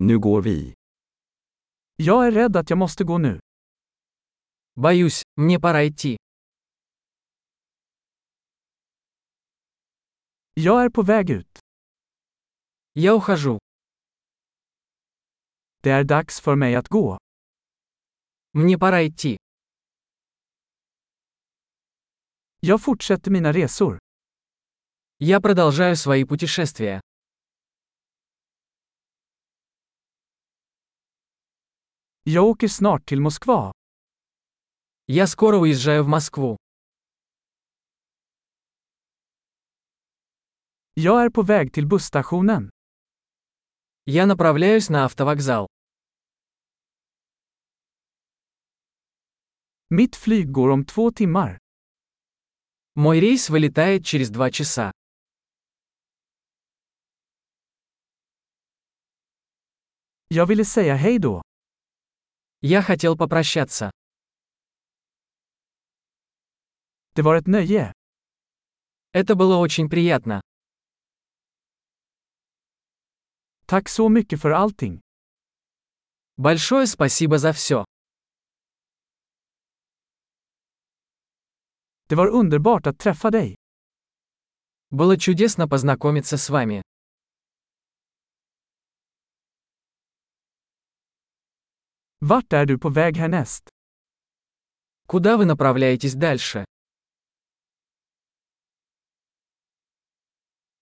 Nu går vi. Jag är rädd att jag måste gå nu. Боюсь, мне пора идти. Jag är på väg ut. Я ухожу. Det är dags för mig att gå. Мне пора идти. Jag fortsätter mina resor. Я продолжаю свои путешествия. Jag åker snart till Moskva. Я скоро уезжаю в Москву. Jag är på väg till busstationen. Я направляюсь на автовокзал. Mitt flyg går om två timmar. Мой рейс вылетает через два часа. Jag ville säga hej då. Я хотел попрощаться. Det var ett nöje. Это было очень приятно. Tack så mycket för allting. Большое спасибо за все. Det var underbart att träffa dig. Было чудесно познакомиться с вами. Vart är du på väg härnäst? Куда вы направляетесь дальше?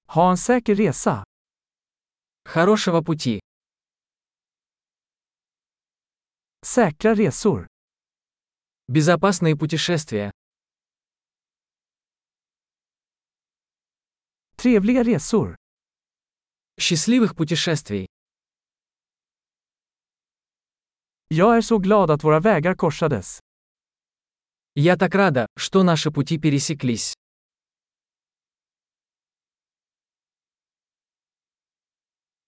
Ha en säker resa. Хорошего пути. Säkra resor. Безопасные путешествия. Trevliga resor. Счастливых путешествий. Jag är så glad att våra vägar korsades. Я так рада, что наши пути пересеклись.